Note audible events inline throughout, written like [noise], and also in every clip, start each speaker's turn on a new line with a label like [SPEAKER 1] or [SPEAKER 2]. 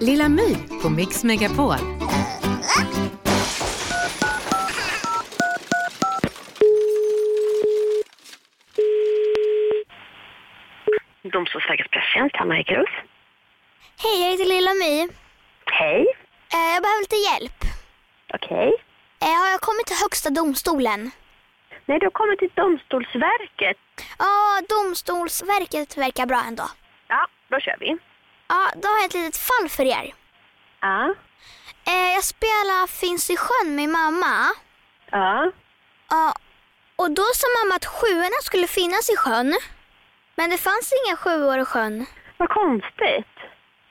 [SPEAKER 1] Lilla My på Mix Megapol.
[SPEAKER 2] Domstolsverkets presstjänst, Hanna Ekerus.
[SPEAKER 3] Hej, jag heter Lilla My.
[SPEAKER 2] Hej.
[SPEAKER 3] Eh, Jag behöver lite hjälp.
[SPEAKER 2] Okej.
[SPEAKER 3] Eh, Har jag kommit till Högsta domstolen?
[SPEAKER 2] Nej, du har kommit till Domstolsverket.
[SPEAKER 3] Ja, Domstolsverket verkar bra ändå.
[SPEAKER 2] Ja, då kör vi.
[SPEAKER 3] Ja, då har jag ett litet fall för er.
[SPEAKER 2] Ja.
[SPEAKER 3] Eh, Jag spelar Finns i sjön med mamma.
[SPEAKER 2] Ja.
[SPEAKER 3] Ja, och då sa mamma att sjuorna skulle finnas i sjön. Men det fanns inga sjuor i sjön.
[SPEAKER 2] Vad konstigt.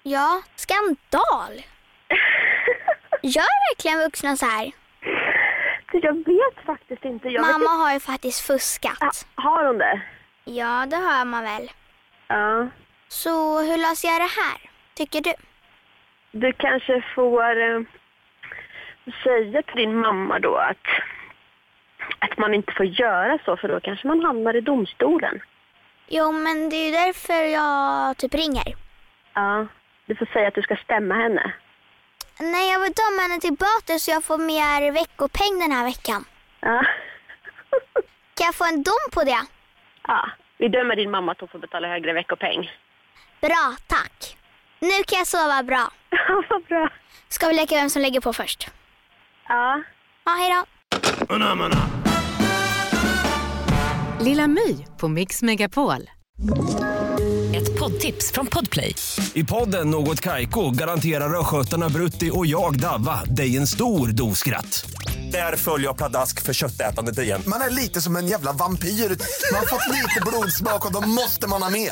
[SPEAKER 3] Ja,
[SPEAKER 2] [laughs]
[SPEAKER 3] skandal! Gör verkligen vuxna så här?
[SPEAKER 2] Du, Jag vet faktiskt inte. Jag Vet
[SPEAKER 3] Mamma
[SPEAKER 2] inte.
[SPEAKER 3] har ju faktiskt fuskat.
[SPEAKER 2] Ja, har hon det?
[SPEAKER 3] Ja, det hör man väl.
[SPEAKER 2] Ja.
[SPEAKER 3] Så hur löser jag det här, tycker du?
[SPEAKER 2] Du kanske får eh, säga till din mamma då att, att man inte får göra så för då kanske man hamnar i domstolen.
[SPEAKER 3] Jo, men det är ju därför jag typ ringer.
[SPEAKER 2] Ja. Du får säga att du ska stämma henne.
[SPEAKER 3] Nej, jag vill döma henne till böter så jag får mer veckopeng den här veckan.
[SPEAKER 2] Ja.
[SPEAKER 3] Kan jag få en dom på det?
[SPEAKER 2] ja. Vi dömer din mamma att hon får betala högre veckopeng.
[SPEAKER 3] Bra, tack. Nu kan jag sova bra.
[SPEAKER 2] [laughs] Ja, vad bra.
[SPEAKER 3] Ska vi leka vem som lägger på först?
[SPEAKER 2] Ja.
[SPEAKER 3] Ja, hej då.
[SPEAKER 1] Lilla My på Mix Megapol.
[SPEAKER 4] Ett poddtips från Podplay.
[SPEAKER 5] I podden Något Kaiko garanterar östgötarna Brutti och jag, Davva, dig en stor dos skratt. Där följer jag pladask för köttätandet igen.
[SPEAKER 6] Man är lite som en jävla vampyr. Man har fått lite blodsmak och då måste man ha mer.